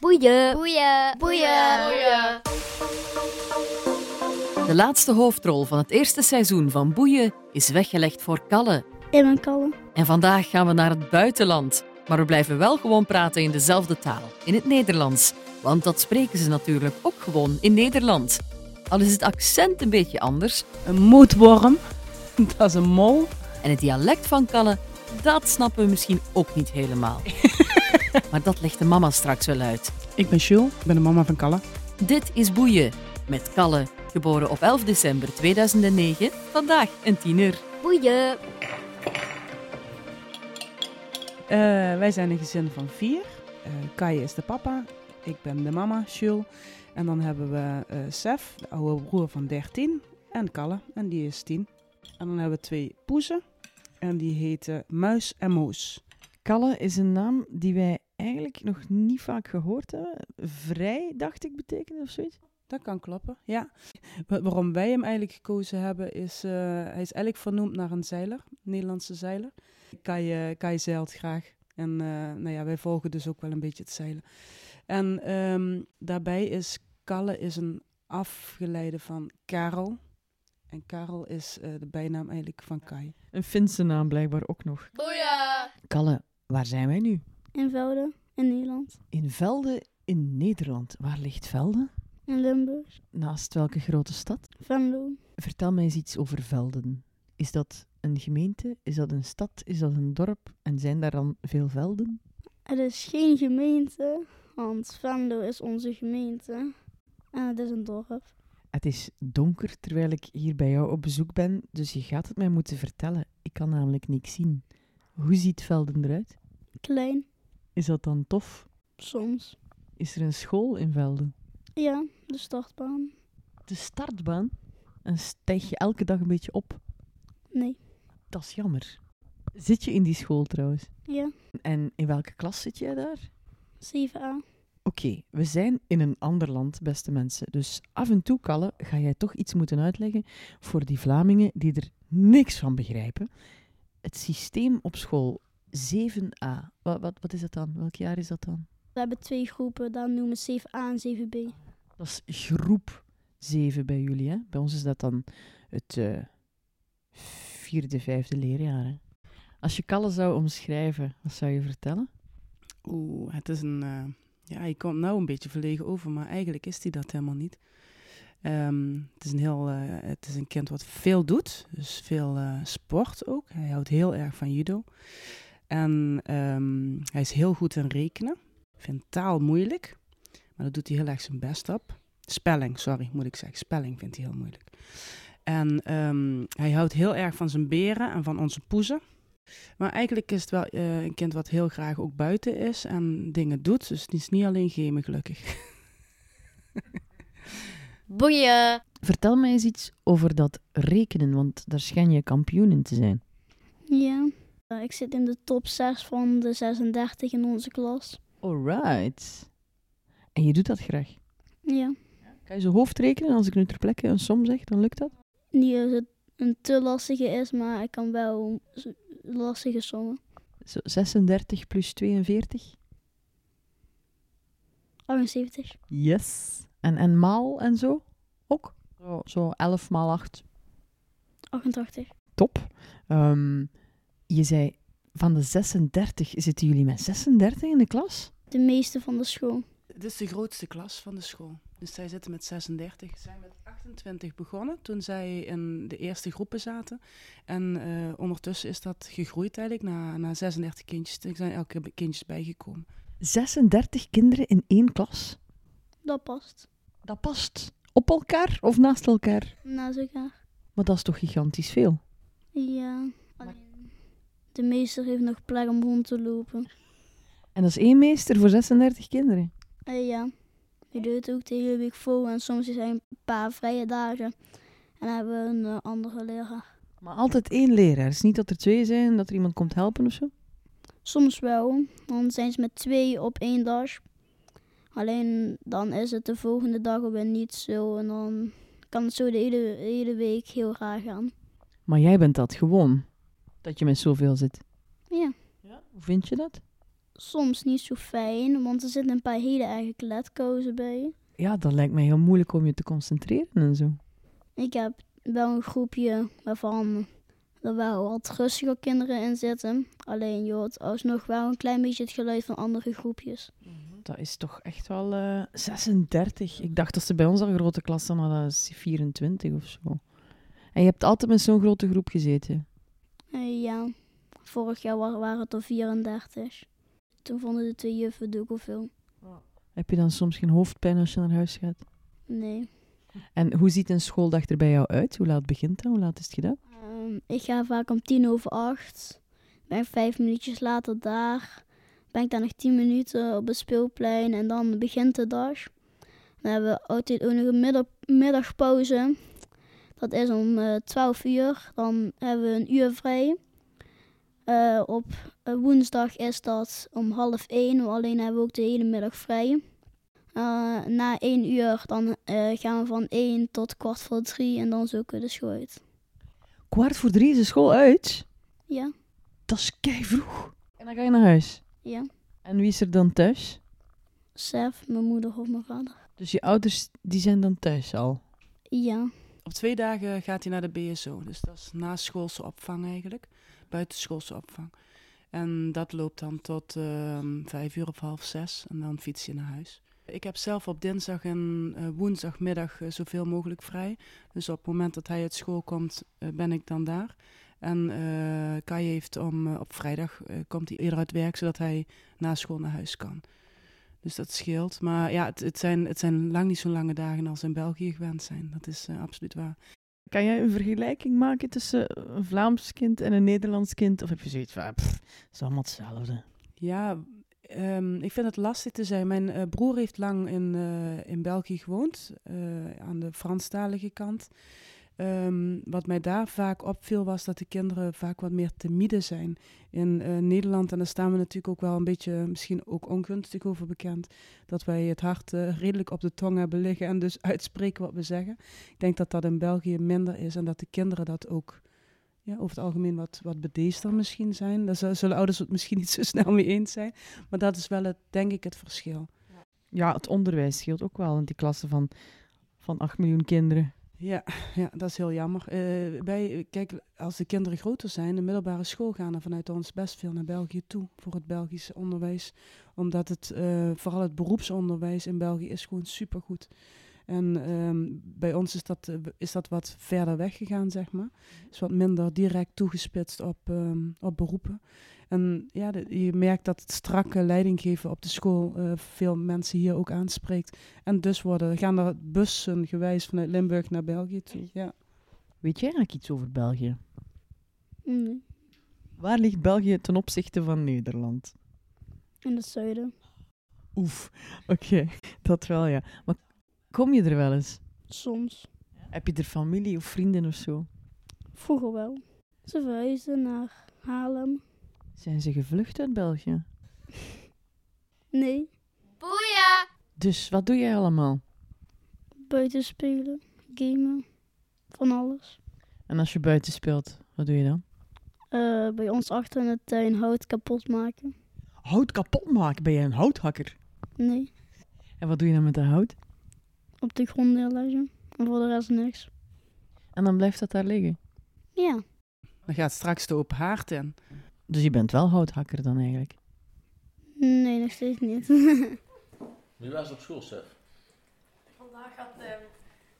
Boeien. Boeien. Boeien. De laatste hoofdrol van het eerste seizoen van Boeien is weggelegd voor Kalle. In mijn kalm. En vandaag gaan we naar het buitenland. Maar we blijven wel gewoon praten in dezelfde taal, in het Nederlands. Want dat spreken ze natuurlijk ook gewoon in Nederland. Al is het accent een beetje anders Een moedworm, dat is een mol. en het dialect van Kalle, dat snappen we misschien ook niet helemaal. maar dat legt de mama straks wel uit. Ik ben Jules, ik ben de mama van Kalle. Dit is Boeien met Kalle, geboren op 11 december 2009, vandaag een tiener. Boeien. Eh, wij zijn een gezin van vier. Eh Kai is de papa, ik ben de mama, Jules. En dan hebben we eh Sef, de oude broer van 13, en Kalle, en die is 10. En dan hebben we twee poezen, en die heten Muis en Moes. Kalle is een naam die wij eigenlijk nog niet vaak gehoord hebben. Vrij, dacht ik, betekende of zoiets. Dat kan kloppen, ja. Wa- waarom wij hem eigenlijk gekozen hebben, is... eh, hij is eigenlijk vernoemd naar een zeiler, een Nederlandse zeiler. Kai, eh, Kai zeilt graag. En eh, nou ja, wij volgen dus ook wel een beetje het zeilen. En ehm, daarbij is Kalle is een afgeleide van Karel. En Karel is eh, de bijnaam eigenlijk van Kai. Een Finse naam blijkbaar ook nog. Boeien. Kalle, waar zijn wij nu? In Velden. In Nederland. In Velde in Nederland. Waar ligt Velde? In Limburg. Naast welke grote stad? Venlo. Vertel mij eens iets over Velden. Is dat een gemeente? Is dat een stad? Is dat een dorp? En zijn daar dan veel velden? Het is geen gemeente, want Venlo is onze gemeente. En het is een dorp. Het is donker terwijl ik hier bij jou op bezoek ben, dus je gaat het mij moeten vertellen. Ik kan namelijk niks zien. Hoe ziet Velden eruit? Klein, Is dat dan tof? soms. Is er een school in Velden? Ja, de startbaan. De startbaan? En stijg je elke dag een beetje op? Nee. Dat is jammer. Zit je in die school trouwens? Ja, En in welke klas zit jij daar? 7a. Oké, we zijn in een ander land, beste mensen. Dus af en toe, Kalle, ga jij toch iets moeten uitleggen voor die Vlamingen die er niks van begrijpen. Het systeem op school 7a. Wat, wat, wat is dat dan? Welk jaar is dat dan? We hebben twee groepen, daar noemen we 7a en 7b. Dat is groep 7 bij jullie, hè? Bij ons is dat dan het eh, vierde, vijfde leerjaar. Hè? Als je Kalle zou omschrijven, wat zou je vertellen? Oeh, het is een. eh, ja, hij komt nou een beetje verlegen over, maar eigenlijk is hij dat helemaal niet. Ehm, het, is een heel, eh, het is een kind wat veel doet, dus veel eh, sport ook. Hij houdt heel erg van judo. En ehm, hij is heel goed in rekenen. Vindt taal moeilijk, maar dat doet hij heel erg zijn best op. Spelling, sorry, moet ik zeggen. Spelling vindt hij heel moeilijk. En ehm, hij houdt heel erg van zijn beren en van onze poezen. Maar eigenlijk is het wel eh, een kind wat heel graag ook buiten is en dingen doet. Dus het is niet alleen gamen, gelukkig. Boeien. Vertel mij eens iets over dat rekenen, want daar schijn je kampioen in te zijn. Ja. Eh, ik zit in de top 6 van de 36 in onze klas. Alright. En je doet dat graag. Ja. Kan je zo hoofd rekenen? Als ik nu ter plekke een som zeg, dan lukt dat? Niet dat het een te lastige is, maar ik kan wel z- lastige sommen. Zo 36 plus 42? 78. Yes. En, en maal en zo? Ook? Zo, zo 11 maal 8 88. top. Ehm, je zei, van de 36 zitten jullie met 36 in de klas? De meeste van de school. Het is de grootste klas van de school. Dus zij zitten met 36. Ze zijn met 28 begonnen toen zij in de eerste groepen zaten. En eh, ondertussen is dat gegroeid eigenlijk naar, naar 36 kindjes. Er zijn elke keer kindjes bijgekomen. 36 kinderen in één klas? Dat past. Dat past op elkaar of naast elkaar? Naast elkaar. Maar dat is toch gigantisch veel? Ja. Alleen, De meester heeft nog plek om rond te lopen. En dat is één meester voor 36 kinderen. Eh, ja. Je doet het ook de hele week vol en soms zijn een paar vrije dagen. En dan hebben we een eh, andere leraar. Maar altijd één leraar. Het is niet dat er twee zijn en dat er iemand komt helpen of zo. Soms wel, dan zijn ze met twee op één dag. Alleen dan is het de volgende dag weer niet zo en dan kan het zo de hele, hele week heel raar gaan. Maar jij bent dat gewoon. Dat je met zoveel zit. Ja, Hoe vind je dat? soms niet zo fijn, want er zitten een paar hele eigen kletkozen bij. Ja, dat lijkt mij heel moeilijk om je te concentreren en zo. Ik heb wel een groepje waarvan er wel wat rustiger kinderen in zitten. Alleen je hoort alsnog wel een klein beetje het geluid van andere groepjes. Dat is toch echt wel eh, 36. Ik dacht dat ze bij ons al grote klassen hadden, dat is 24 of zo. En je hebt altijd met zo'n grote groep gezeten. Eh, ja, vorig jaar wa- waren het er 34. Toen vonden de twee juffen het ook al veel. Heb je dan soms geen hoofdpijn als je naar huis gaat? Nee. En hoe ziet een schooldag er bij jou uit? Hoe laat begint dat? Hoe laat is het gedaan? Ehm, ik ga vaak om tien over acht. Ben ik vijf minuutjes later daar. Ben ik daar nog tien minuten op het speelplein en dan begint de dag. Dan hebben we altijd ook nog een middag, middagpauze. Dat is om eh 12 uur. Dan hebben we een uur vrij. Eh, op eh, woensdag is dat om half één. maar Alleen hebben we ook de hele middag vrij. Eh, na één uur dan eh, gaan we van één tot kwart voor drie en dan zoeken we de school uit. Kwart voor drie is de school uit. Ja, Dat is kei vroeg. En dan ga je naar huis. ja. En wie is er dan thuis? Sef, mijn moeder of mijn vader. Dus je ouders die zijn dan thuis al. Ja, Op twee dagen gaat hij naar de BSO. Dus dat is naschoolse opvang eigenlijk. Buitenschoolse opvang. En dat loopt dan tot ehm, vijf uur of half zes. En dan fiets je naar huis. Ik heb zelf op dinsdag en eh, woensdagmiddag eh, zoveel mogelijk vrij. Dus op het moment dat hij uit school komt, eh, ben ik dan daar. En eh Kai heeft om, eh, op vrijdag eh, komt hij eerder uit werk, zodat hij na school naar huis kan. Dus dat scheelt. Maar ja, het, het, zijn, het zijn lang niet zo lange dagen als in België gewend zijn. Dat is eh, absoluut waar. Kan jij een vergelijking maken tussen een Vlaams kind en een Nederlands kind? Of heb je zoiets van, pff, het is allemaal hetzelfde. Ja, ehm, ik vind het lastig te zijn. Mijn eh, broer heeft lang in, eh, in België gewoond, eh, aan de Franstalige kant. Ehm, wat mij daar vaak opviel was dat de kinderen vaak wat meer timide zijn. In eh, Nederland, en daar staan we natuurlijk ook wel een beetje, misschien ook ongunstig over bekend, dat wij het hart eh, redelijk op de tong hebben liggen en dus uitspreken wat we zeggen. Ik denk dat dat in België minder is en dat de kinderen dat ook ja, over het algemeen wat, wat bedeesder misschien zijn. Daar zu- zullen ouders het misschien niet zo snel mee eens zijn. Maar dat is wel, het, denk ik, het verschil. Ja, het onderwijs scheelt ook wel, want die klassen van, van 8 miljoen kinderen. Ja, ja dat is heel jammer. Eh, wij, kijk, als de kinderen groter zijn, de middelbare school gaan er vanuit ons best veel naar België toe voor het Belgische onderwijs. Omdat het, eh, vooral het beroepsonderwijs in België is gewoon supergoed. En ehm, bij ons is dat, eh, is dat wat verder weggegaan, zeg maar. Is wat minder direct toegespitst op, ehm, op beroepen. En ja, de- je merkt dat het strakke leidinggeven op de school eh, veel mensen hier ook aanspreekt. En dus worden, gaan er bussen gewijs vanuit Limburg naar België toe. Ja. Weet jij eigenlijk iets over België? mm, Waar ligt België ten opzichte van Nederland? in het zuiden. Oef, oké, dat wel ja. Maar kom je er wel eens? Soms. Heb je er familie of vrienden of zo? Vroeger wel. Ze verhuisden naar Haarlem. Zijn ze gevlucht uit België? Nee, Booyah! Dus wat doe jij allemaal? buiten spelen, gamen, van alles. En als je buiten speelt, wat doe je dan? Eh, bij ons achter in de tuin hout kapot maken. Hout kapot maken, ben jij een houthakker? Nee, En wat doe je dan met dat hout? op de grond neerleggen. En voor de rest niks. En dan blijft dat daar liggen. Ja, Dan gaat straks de open haard in. Dus je bent wel houthakker dan eigenlijk? nee, nog steeds niet. Nu was het op school, Sef. Vandaag had ehm,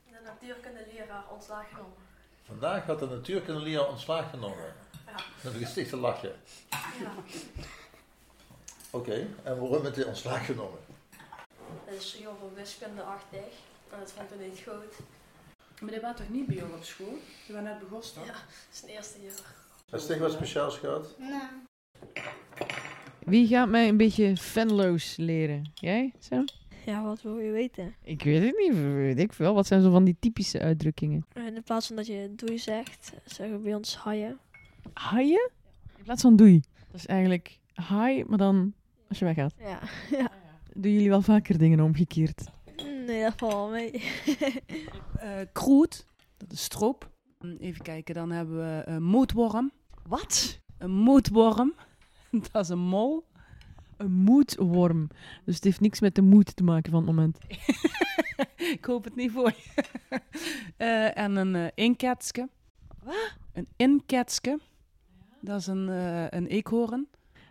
de natuurkundeleraar ontslag genomen. Vandaag had de natuurkundeleraar ontslag genomen. Met een gestichte lachje. Ja. Oké, en waarom heeft hij ontslag genomen? Dus heel veel wiskunde 80. En dat vond ik niet goed. Maar die waren toch niet bij jou op school? Die waren net begonnen. Ja, dat is het eerste jaar. Heeft Stig wat speciaals gehad? nou, Wie gaat mij een beetje Venlo's leren? Jij, Sam? Ja, wat wil je weten? Ik weet het niet, weet ik veel. Wat zijn zo van die typische uitdrukkingen? Eh, In plaats van dat je doei zegt, zeggen we bij ons haaien. Haaien? In plaats van doei. Dat is eigenlijk hi, maar dan als je weggaat. Ja. ja. Doen jullie wel vaker dingen omgekeerd? Mm, Nee, dat valt wel mee. Eh kroet, dat is stroop. Mm, Even kijken, dan hebben we eh, een mootworm. Wat? Een mootworm, dat is een mol. een moedworm. Dus het heeft niks met de moed te maken van het moment. Ik hoop het niet voor je. Eh, en een eh inketske. Wat? Een inketske. Dat is een, eh, een eekhoorn.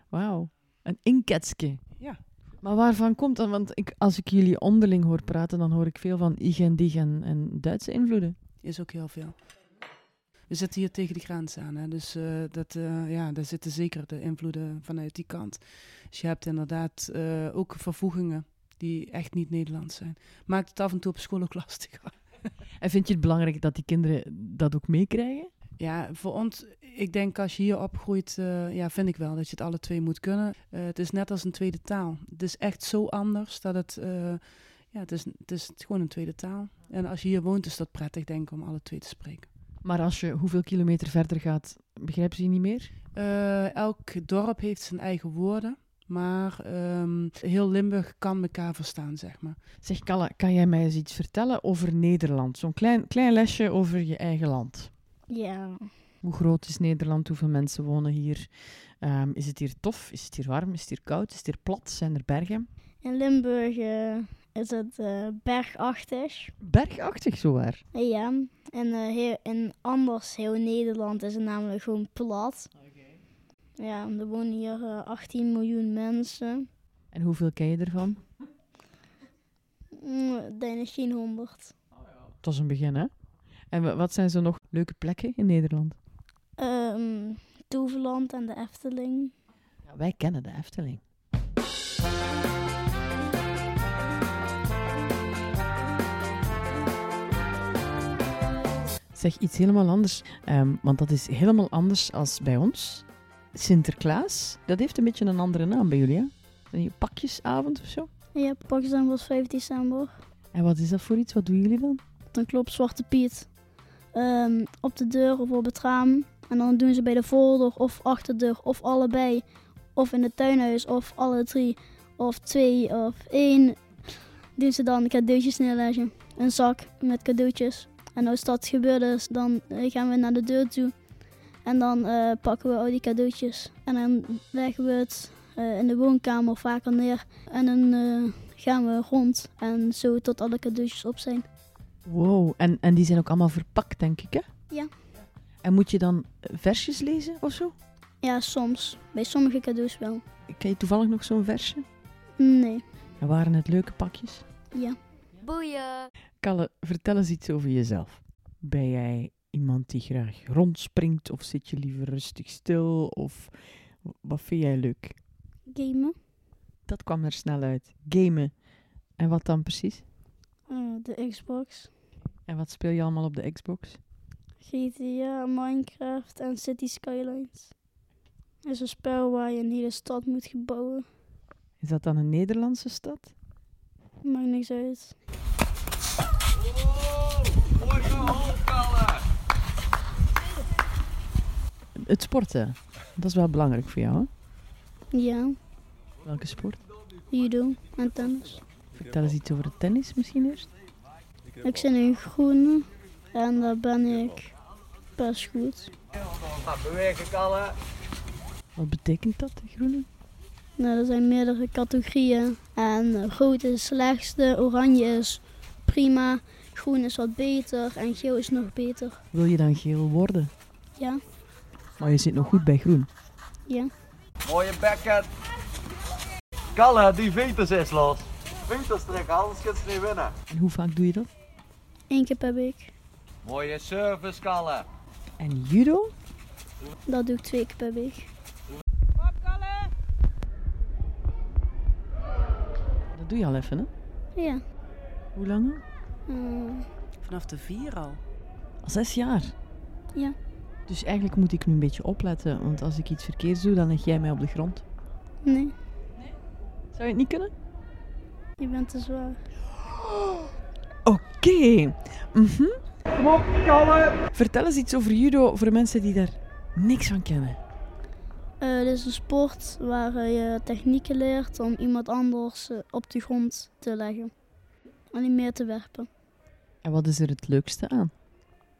Wauw. Een inketske. Ja. Maar waarvan komt dat? Want ik, als ik jullie onderling hoor praten, dan hoor ik veel van IG en DIG en, en Duitse invloeden. Is ook heel veel. We zitten hier tegen de grens aan, hè? dus eh, dat, eh, ja, daar zitten zeker de invloeden vanuit die kant. Dus je hebt inderdaad eh, ook vervoegingen die echt niet Nederlands zijn. Maakt het af en toe op school ook lastiger. En vind je het belangrijk dat die kinderen dat ook meekrijgen? Ja, voor ons, ik denk als je hier opgroeit, eh, ja, vind ik wel dat je het alle twee moet kunnen. Eh, het is net als een tweede taal. Het is echt zo anders dat het, eh, ja, het is, het is gewoon een tweede taal. En als je hier woont is dat prettig, denk ik, om alle twee te spreken. Maar als je hoeveel kilometer verder gaat, begrijpen ze je niet meer? Eh, elk dorp heeft zijn eigen woorden, maar ehm, heel Limburg kan elkaar verstaan, zeg maar. Zeg, Kalle, kan jij mij eens iets vertellen over Nederland? Zo'n klein, klein lesje over je eigen land. Ja. Hoe groot is Nederland? Hoeveel mensen wonen hier? Ehm, is het hier tof? Is het hier warm? Is het hier koud? Is het hier plat? Zijn er bergen? In Limburg eh, is het eh, bergachtig. Bergachtig, zowaar. Ja. En eh, heel, in anders heel Nederland is het namelijk gewoon plat. Ja, er wonen hier eh, 18 miljoen mensen. En hoeveel ken je ervan? Mm, denk ik geen 100. Dat is een begin, hè? En wa- wat zijn zo nog leuke plekken in Nederland? Ehm Toverland en de Efteling. wij kennen de Efteling. Zeg iets helemaal anders, ehm, want dat is helemaal anders als bij ons. Sinterklaas, dat heeft een beetje een andere naam bij jullie, hè? Zijn hier pakjesavond of zo? Ja, Pakistan was 5 december. En wat is dat voor iets? Wat doen jullie dan? Dan klopt Zwarte Piet ehm, op de deur of op het raam. En dan doen ze bij de voordeur of achterdeur of allebei. Of in het tuinhuis of alle drie. Of twee of één. Doen ze dan cadeautjes neerleggen. Een zak met cadeautjes. En als dat gebeurd is, dan eh, gaan we naar de deur toe. En dan eh, pakken we al die cadeautjes. En dan leggen we het eh, in de woonkamer vaker neer. En dan eh, gaan we rond. En zo tot alle cadeautjes op zijn. Wow, en, en die zijn ook allemaal verpakt, denk ik, hè? Ja. En moet je dan versjes lezen of zo? Ja, soms. Bij sommige cadeaus wel. Ken je toevallig nog zo'n versje? Nee. En waren het leuke pakjes? Ja. Boeien. Kalle, vertel eens iets over jezelf. Ben jij iemand die graag rondspringt of zit je liever rustig stil? Of w- wat vind jij leuk? Gamen. Dat kwam er snel uit. Gamen. En wat dan precies? Ah, de Xbox. En wat speel je allemaal op de Xbox? GTA, Minecraft en City Skylines. Dat is een spel waar je een hele stad moet gebouwen. Is dat dan een Nederlandse stad? Maakt niks uit. Het sporten. Dat is wel belangrijk voor jou, hè? Ja, Welke sport? judo en tennis. Vertel eens iets over de tennis misschien eerst. Ik zit in groene en daar ben ik best goed. Wat betekent dat, de groene? Nou, er zijn meerdere categorieën. En eh, rood is het slechtste, oranje is prima, groen is wat beter en geel is nog beter. Wil je dan geel worden? Ja, Maar je zit nog goed bij groen. ja. Mooie bekken. Kalle, die veters is los. Veters trekken, anders kun je niet winnen. En hoe vaak doe je dat? Eén keer per week. Mooie service, Kalle. En judo? Dat doe ik twee keer per week. Dat doe je al even, hè? Ja. Hoe lang? al? eh, Vanaf de vier al. Al zes jaar. Ja. Dus eigenlijk moet ik nu een beetje opletten, want als ik iets verkeerds doe, dan leg jij mij op de grond. nee, Zou je het niet kunnen? je bent te zwaar. Oké. Mhm. Vertel eens iets over judo voor de mensen die daar niks van kennen. Eh, dit is een sport waar eh, je technieken leert om iemand anders eh, op de grond te leggen. En niet meer te werpen. En wat is er het leukste aan?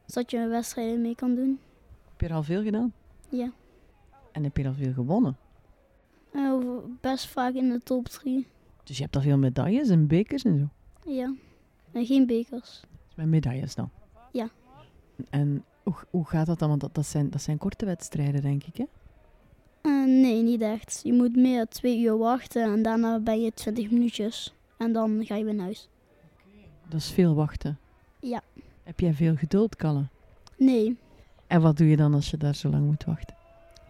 Zodat je wedstrijden mee kan doen. Heb je er al veel gedaan? Ja. En heb je er al veel gewonnen? Eh, Eh, best vaak in de top 3. Dus je hebt al veel medailles en bekers en zo. Ja. En geen bekers. Met medailles dan? Ja. En hoe, hoe gaat dat dan? Want dat, dat, zijn, dat zijn korte wedstrijden, denk ik, hè? Eh, nee, niet echt. Je moet meer dan twee uur wachten en daarna ben je 20 minuutjes. En dan ga je weer naar huis. Dat is veel wachten. Ja. Heb jij veel geduld, Kalle? Nee, En wat doe je dan als je daar zo lang moet wachten?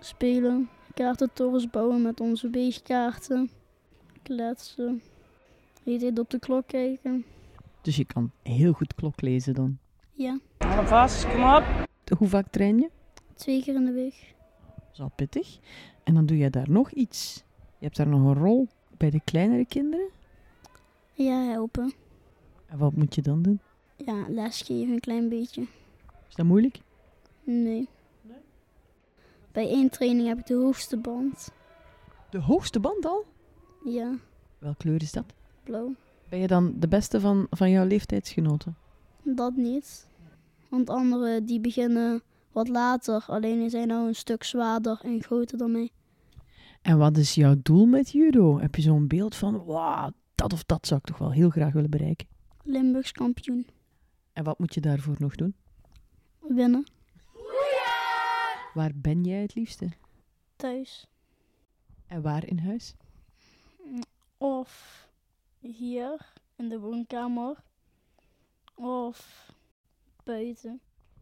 spelen, kaartentorens bouwen met onze beestkaarten, kletsen, de hele tijd op de klok kijken. Dus je kan heel goed klok lezen dan. Ja, Hou hem vast, kom op. Hoe vaak train je? twee keer in de week. Dat is al pittig. En dan doe je daar nog iets. Je hebt daar nog een rol bij de kleinere kinderen. Ja, helpen. En wat moet je dan doen? Ja, les geven een klein beetje. Is dat moeilijk? Nee. Bij één training heb ik de hoogste band. De hoogste band al? Ja, Welke kleur is dat? blauw. Ben je dan de beste van, van jouw leeftijdsgenoten? Dat niet. Want anderen die beginnen wat later, alleen die zijn nou een stuk zwaarder en groter dan mij. En wat is jouw doel met judo? Heb je zo'n beeld van, wauw, dat of dat zou ik toch wel heel graag willen bereiken? Limburgs kampioen. En wat moet je daarvoor nog doen? Winnen. Waar ben jij het liefste? Thuis. En waar in huis? Of hier in de woonkamer. Of buiten.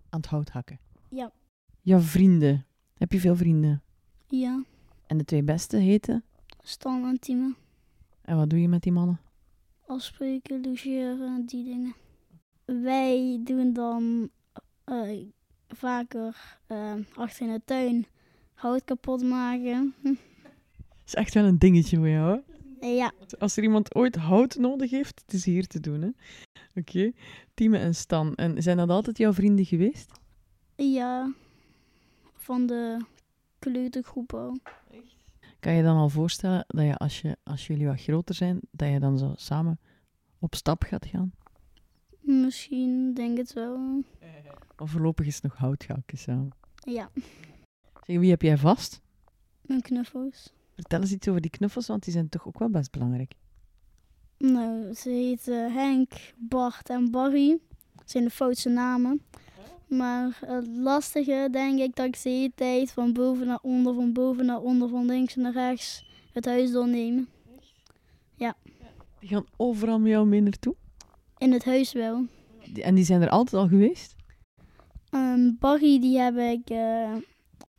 Aan het hout hakken. Ja. Jouw vrienden. Heb je veel vrienden? Ja, En de twee beste heten? Stan en Tieme. En wat doe je met die mannen? Afspreken, logeren, die dingen. Wij doen dan eh, vaker eh, achter in de tuin hout kapot maken. Dat is echt wel een dingetje voor jou, hè? Eh, ja, Als er iemand ooit hout nodig heeft, het is hier te doen, hè? Oké. Tieme en Stan. En zijn dat altijd jouw vrienden geweest? ja, van de kleutergroep al. Kan je dan al voorstellen dat je als, je, als jullie wat groter zijn, dat je dan zo samen op stap gaat gaan? Misschien denk het wel. Maar voorlopig is het nog hout hakken samen. Ja, Zeg, wie heb jij vast? mijn knuffels. Vertel eens iets over die knuffels, want die zijn toch ook wel best belangrijk. Nou, ze heten Henk, Bart en Barry. Dat zijn de foutse namen. Maar het lastige denk ik dat ik de hele tijd van boven naar onder, van boven naar onder, van links naar rechts het huis doornemen. Die gaan overal met jou mee naartoe. In het huis wel. Die- En die zijn er altijd al geweest. Ehm, Barry die heb ik eh,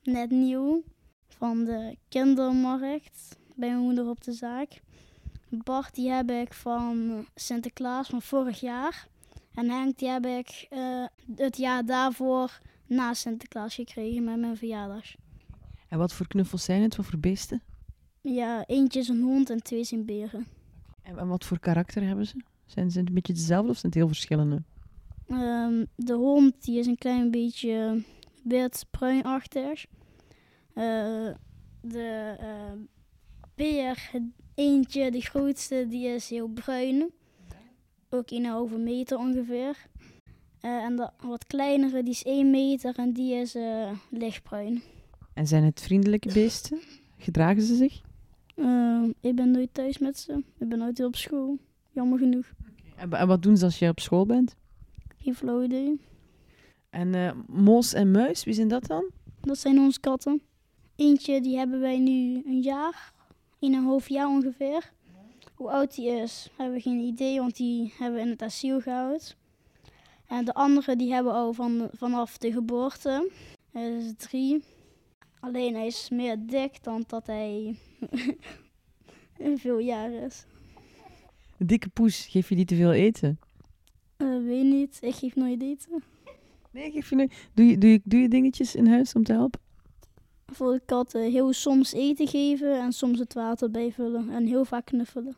net nieuw van de kindermarkt bij mijn moeder op de zaak. Bart die heb ik van Sinterklaas van vorig jaar. En Henk die heb ik eh, het jaar daarvoor na Sinterklaas gekregen met mijn verjaardag. En wat voor knuffels zijn het? Wat voor beesten? Ja, eentje is een hond en twee zijn beren. En, en wat voor karakter hebben ze? Zijn ze een beetje dezelfde of zijn het heel verschillende? Ehm, de hond die is een klein beetje wit-bruinachtig. Eh, de eh, beer, eentje, de grootste, die is heel bruin. Ook 1,5 meter ongeveer. Eh, en de wat kleinere, die is 1 meter en die is eh, lichtbruin. En zijn het vriendelijke beesten? Gedragen ze zich? Eh, ik ben nooit thuis met ze. Ik ben nooit weer op school. Jammer genoeg. En, wa- en wat doen ze als je op school bent? Geen flauw idee. En eh, moos en muis, wie zijn dat dan? Dat zijn onze katten. Eentje die hebben wij nu een jaar, een en een half jaar ongeveer. Hoe oud die is, hebben we geen idee, want die hebben we in het asiel gehouden. En de andere die hebben we al van, vanaf de geboorte. Hij is drie. Alleen hij is meer dik dan dat hij veel jaar is. De dikke poes, geef je die te veel eten? Eh, weet niet, ik geef nooit eten. Nee, geef je nu... Doe je, doe, je, doe je dingetjes in huis om te helpen? Voor de katten heel soms eten geven en soms het water bijvullen. En heel vaak knuffelen.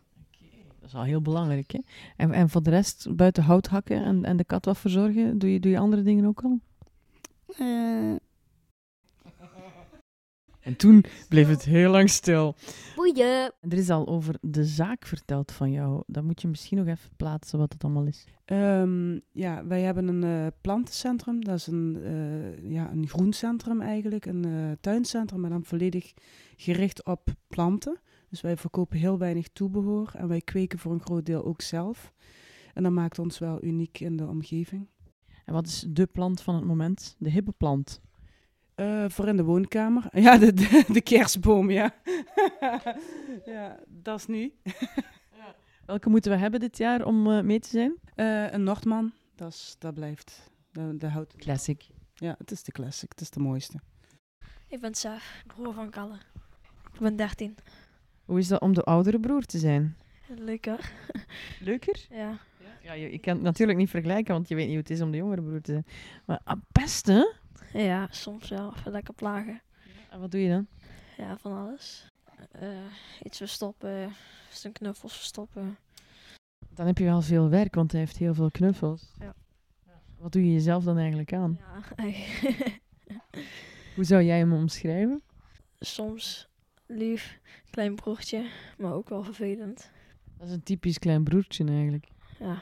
Dat is al heel belangrijk, hè? En, en voor de rest, buiten hout hakken en, en de kat wat verzorgen, doe je, doe je andere dingen ook al? Eh, En toen bleef het heel lang stil. Boeien. En er is al over de zaak verteld van jou. Dan moet je misschien nog even plaatsen wat het allemaal is. Ehm, ja, wij hebben een eh, plantencentrum. Dat is een, eh, ja, een groencentrum eigenlijk, een eh, tuincentrum, maar dan volledig gericht op planten. Dus wij verkopen heel weinig toebehor en wij kweken voor een groot deel ook zelf. En dat maakt ons wel uniek in de omgeving. En wat is de plant van het moment? De hippe plant. Eh, voor in de woonkamer. Ja, de, de, de kerstboom, ja. ja, dat is nu. Welke moeten we hebben dit jaar om eh, mee te zijn? Eh, een Noordman, dat, is, dat blijft. Dat, dat houdt. Classic. Ja, het is de classic, het is de mooiste. Ik ben Saar, broer van Kalle. Ik ben 13. Hoe is dat om de oudere broer te zijn? Leuk hoor. Leuker? Ja. Ja, je, je kan het natuurlijk niet vergelijken, want je weet niet hoe het is om de jongere broer te zijn. Maar ah, best, hè? ja, soms wel. Even lekker plagen. En wat doe je dan? Ja, van alles. Eh, iets verstoppen, zijn knuffels verstoppen. Dan heb je wel veel werk, want hij heeft heel veel knuffels. Ja. Wat doe je jezelf dan eigenlijk aan? Ja, eigenlijk. Hoe zou jij hem omschrijven? soms lief, klein broertje, maar ook wel vervelend. Dat is een typisch klein broertje eigenlijk. Ja.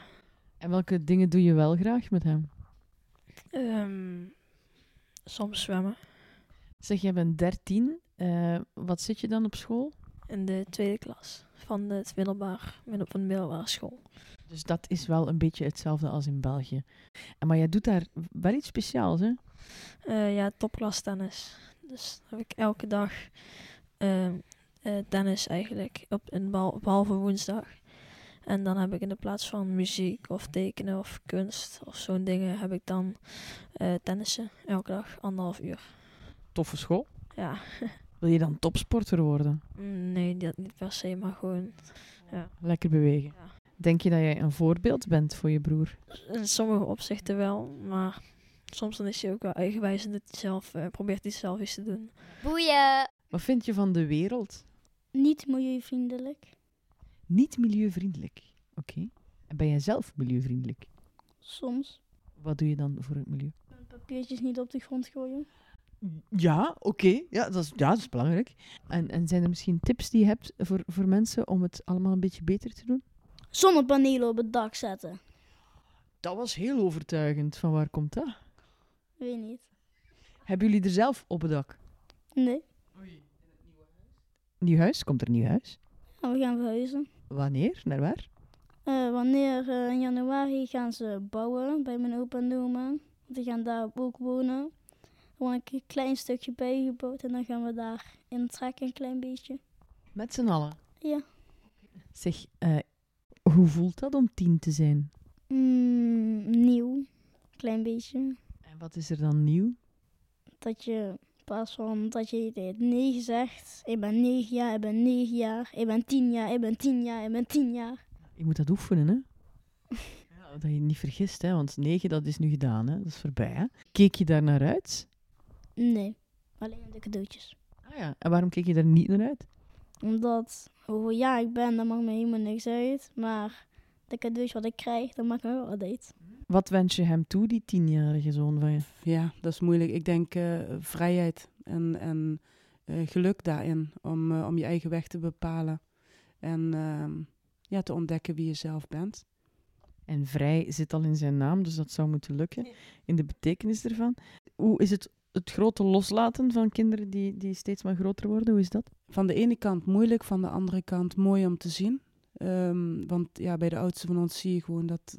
En welke dingen doe je wel graag met hem? Ehm, soms zwemmen. Zeg, jij bent 13. eh, wat zit je dan op school? In de tweede klas van het middelbaar, middel, van de middelbare school. Dus dat is wel een beetje hetzelfde als in België. En maar jij doet daar wel iets speciaals, hè? Eh, ja, topklas tennis. Dus dan heb ik elke dag ehm, eh, tennis eigenlijk, op, in, behal- behalve woensdag. En dan heb ik in de plaats van muziek of tekenen of kunst of zo'n dingen, heb ik dan eh, tennissen. Elke dag, anderhalf uur. Toffe school. Ja, Wil je dan topsporter worden? Mm, nee, dat niet per se, maar gewoon Lekker bewegen. Ja. Denk je dat jij een voorbeeld bent voor je broer? in sommige opzichten wel. Maar soms dan is hij ook wel eigenwijs en doet hij zelf, eh, probeert hij zelf iets te doen. Boeien. Wat vind je van de wereld? Niet milieuvriendelijk. Niet milieuvriendelijk. Oké. En ben jij zelf milieuvriendelijk? Soms. Wat doe je dan voor het milieu? Papiertjes niet op de grond gooien. Ja, oké. Ja, dat is, ja, dat is belangrijk. En, en zijn er misschien tips die je hebt voor, voor mensen om het allemaal een beetje beter te doen? Zonnepanelen op het dak zetten. Dat was heel overtuigend. Van waar komt dat? Weet niet. Hebben jullie er zelf op het dak? Nee. Nieuw huis? Komt er nieuw huis? Maar Nou, we gaan verhuizen. Wanneer? Naar waar? Eh, wanneer eh, in januari gaan ze bouwen bij mijn opa en oma. Die gaan daar ook wonen. Dan woon ik een klein stukje bijgebouwd en dan gaan we daar intrekken een klein beetje. Met z'n allen. Ja. Zeg, eh, hoe voelt dat om tien te zijn? Mm, nieuw, klein beetje. En wat is er dan nieuw? Dat je in plaats van dat je het negen zegt. Ik ben negen jaar, ik ben negen jaar, ik ben tien jaar, ik ben tien jaar, ik ben tien jaar. Je moet dat oefenen, hè? Ja, dat je je niet vergist, hè? Want negen, dat is nu gedaan, hè? Dat is voorbij, hè? Keek je daar naar uit? Nee, alleen de cadeautjes. Ah ja, en waarom keek je daar niet naar uit? Omdat hoeveel jaar ik ben, dat maakt me helemaal niks uit. Maar de cadeautjes wat ik krijg, dat maakt me wel wat uit. Wat wens je hem toe, die tienjarige zoon van je? Ja, dat is moeilijk. Ik denk eh, vrijheid en, en eh, geluk daarin. Om, eh, om je eigen weg te bepalen. En ehm, ja, te ontdekken wie je zelf bent. En vrij zit al in zijn naam, dus dat zou moeten lukken in de betekenis ervan. Hoe is het, het grote loslaten van kinderen die, die steeds maar groter worden? Hoe is dat? Van de ene kant moeilijk, van de andere kant mooi om te zien. Ehm, want ja, bij de oudste van ons zie je gewoon dat,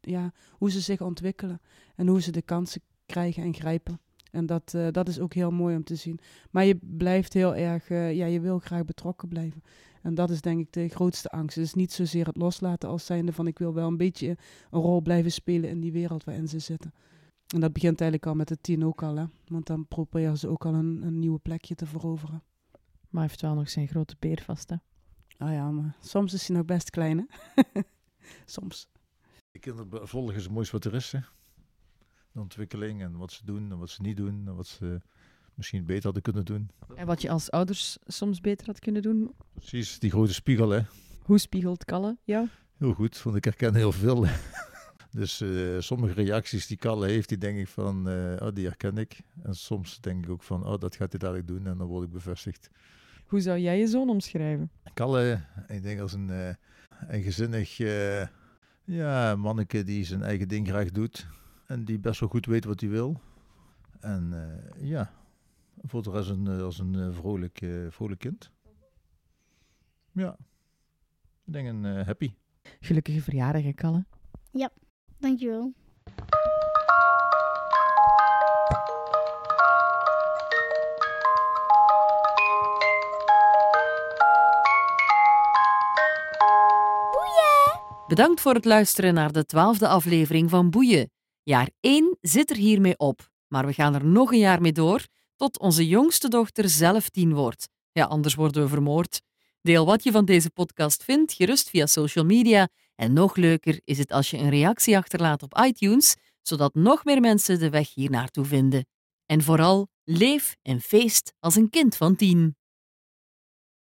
ja, hoe ze zich ontwikkelen. En hoe ze de kansen krijgen en grijpen. En dat, eh, dat is ook heel mooi om te zien. Maar je blijft heel erg, eh, ja, je wil graag betrokken blijven. En dat is denk ik de grootste angst. Dus niet zozeer het loslaten als zijnde van ik wil wel een beetje een rol blijven spelen in die wereld waarin ze zitten. En dat begint eigenlijk al met de tien ook al, hè. Want dan proberen ze ook al een, een nieuwe plekje te veroveren. Maar hij heeft wel nog zijn grote peer vast, hè? Oh ja, maar soms is hij nog best klein, hè? soms. De kinderen be- volgen ze moois wat er is. Hè? De ontwikkeling en wat ze doen en wat ze niet doen. En wat ze misschien beter hadden kunnen doen. En wat je als ouders soms beter had kunnen doen. Precies, die grote spiegel. Hè? Hoe spiegelt Kalle jou? Heel goed, want ik herken heel veel. dus eh, sommige reacties die Kalle heeft, die denk ik van, eh, oh, die herken ik. En soms denk ik ook van, oh, dat gaat hij dadelijk doen en dan word ik bevestigd. Hoe zou jij je zoon omschrijven? Kalle, ik denk als een eh, eigenzinnig eh, ja, manneke die zijn eigen ding graag doet. En die best wel goed weet wat hij wil. En eh, ja, voor de rest een, eh, als een eh, vrolijk, eh, vrolijk kind. Ja. Ik denk een eh, happy. Gelukkige verjaardag, hè, Kalle. Dankjewel. Bedankt voor het luisteren naar de twaalfde aflevering van Boeien. Jaar 1 zit er hiermee op, maar we gaan er nog een jaar mee door tot onze jongste dochter zelf tien wordt. Ja, anders worden we vermoord. Deel wat je van deze podcast vindt, gerust via social media. En nog leuker is het als je een reactie achterlaat op iTunes, zodat nog meer mensen de weg hier naartoe vinden. En vooral, leef en feest als een kind van tien.